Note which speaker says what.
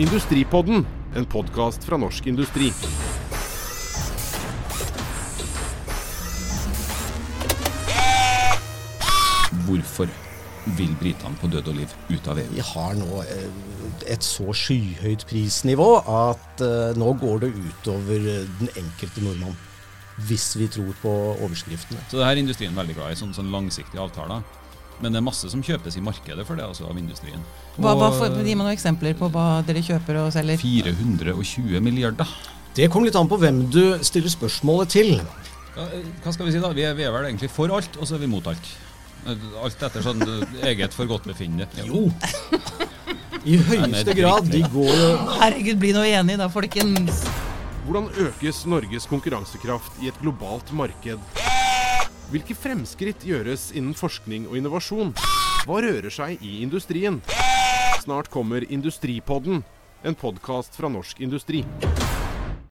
Speaker 1: Industripodden, en podkast fra Norsk Industri.
Speaker 2: Hvorfor vil britene på død og liv ut av EU?
Speaker 3: Vi har nå eh, et så skyhøyt prisnivå at eh, nå går det utover eh, den enkelte nordmann. Hvis vi tror på overskriftene.
Speaker 2: Så det her er industrien veldig glad i, sånne, sånne langsiktige avtaler. Men det er masse som kjøpes i markedet for det, altså av industrien.
Speaker 4: Hva, hva for,
Speaker 2: Og,
Speaker 4: gi meg noen eksempler på hva dere kjøper og
Speaker 2: eh,
Speaker 4: selger.
Speaker 2: 420 milliarder.
Speaker 3: Det kommer litt an på hvem du stiller spørsmålet til.
Speaker 2: Ja, eh, Hva skal vi si da? Vi er, vi er vel egentlig for alt, og så er vi mot alt. Eh, Alt etter sånn eh, eget forgodtbefinnende.
Speaker 3: Jo! I høyeste grad. De går jo
Speaker 4: Herregud, bli nå enig da, folkens.
Speaker 1: Hvordan økes Norges konkurransekraft i et globalt marked? Hvilke fremskritt gjøres innen forskning og innovasjon? Hva rører seg i industrien? Snart kommer Industripodden, en podkast fra Norsk Industri.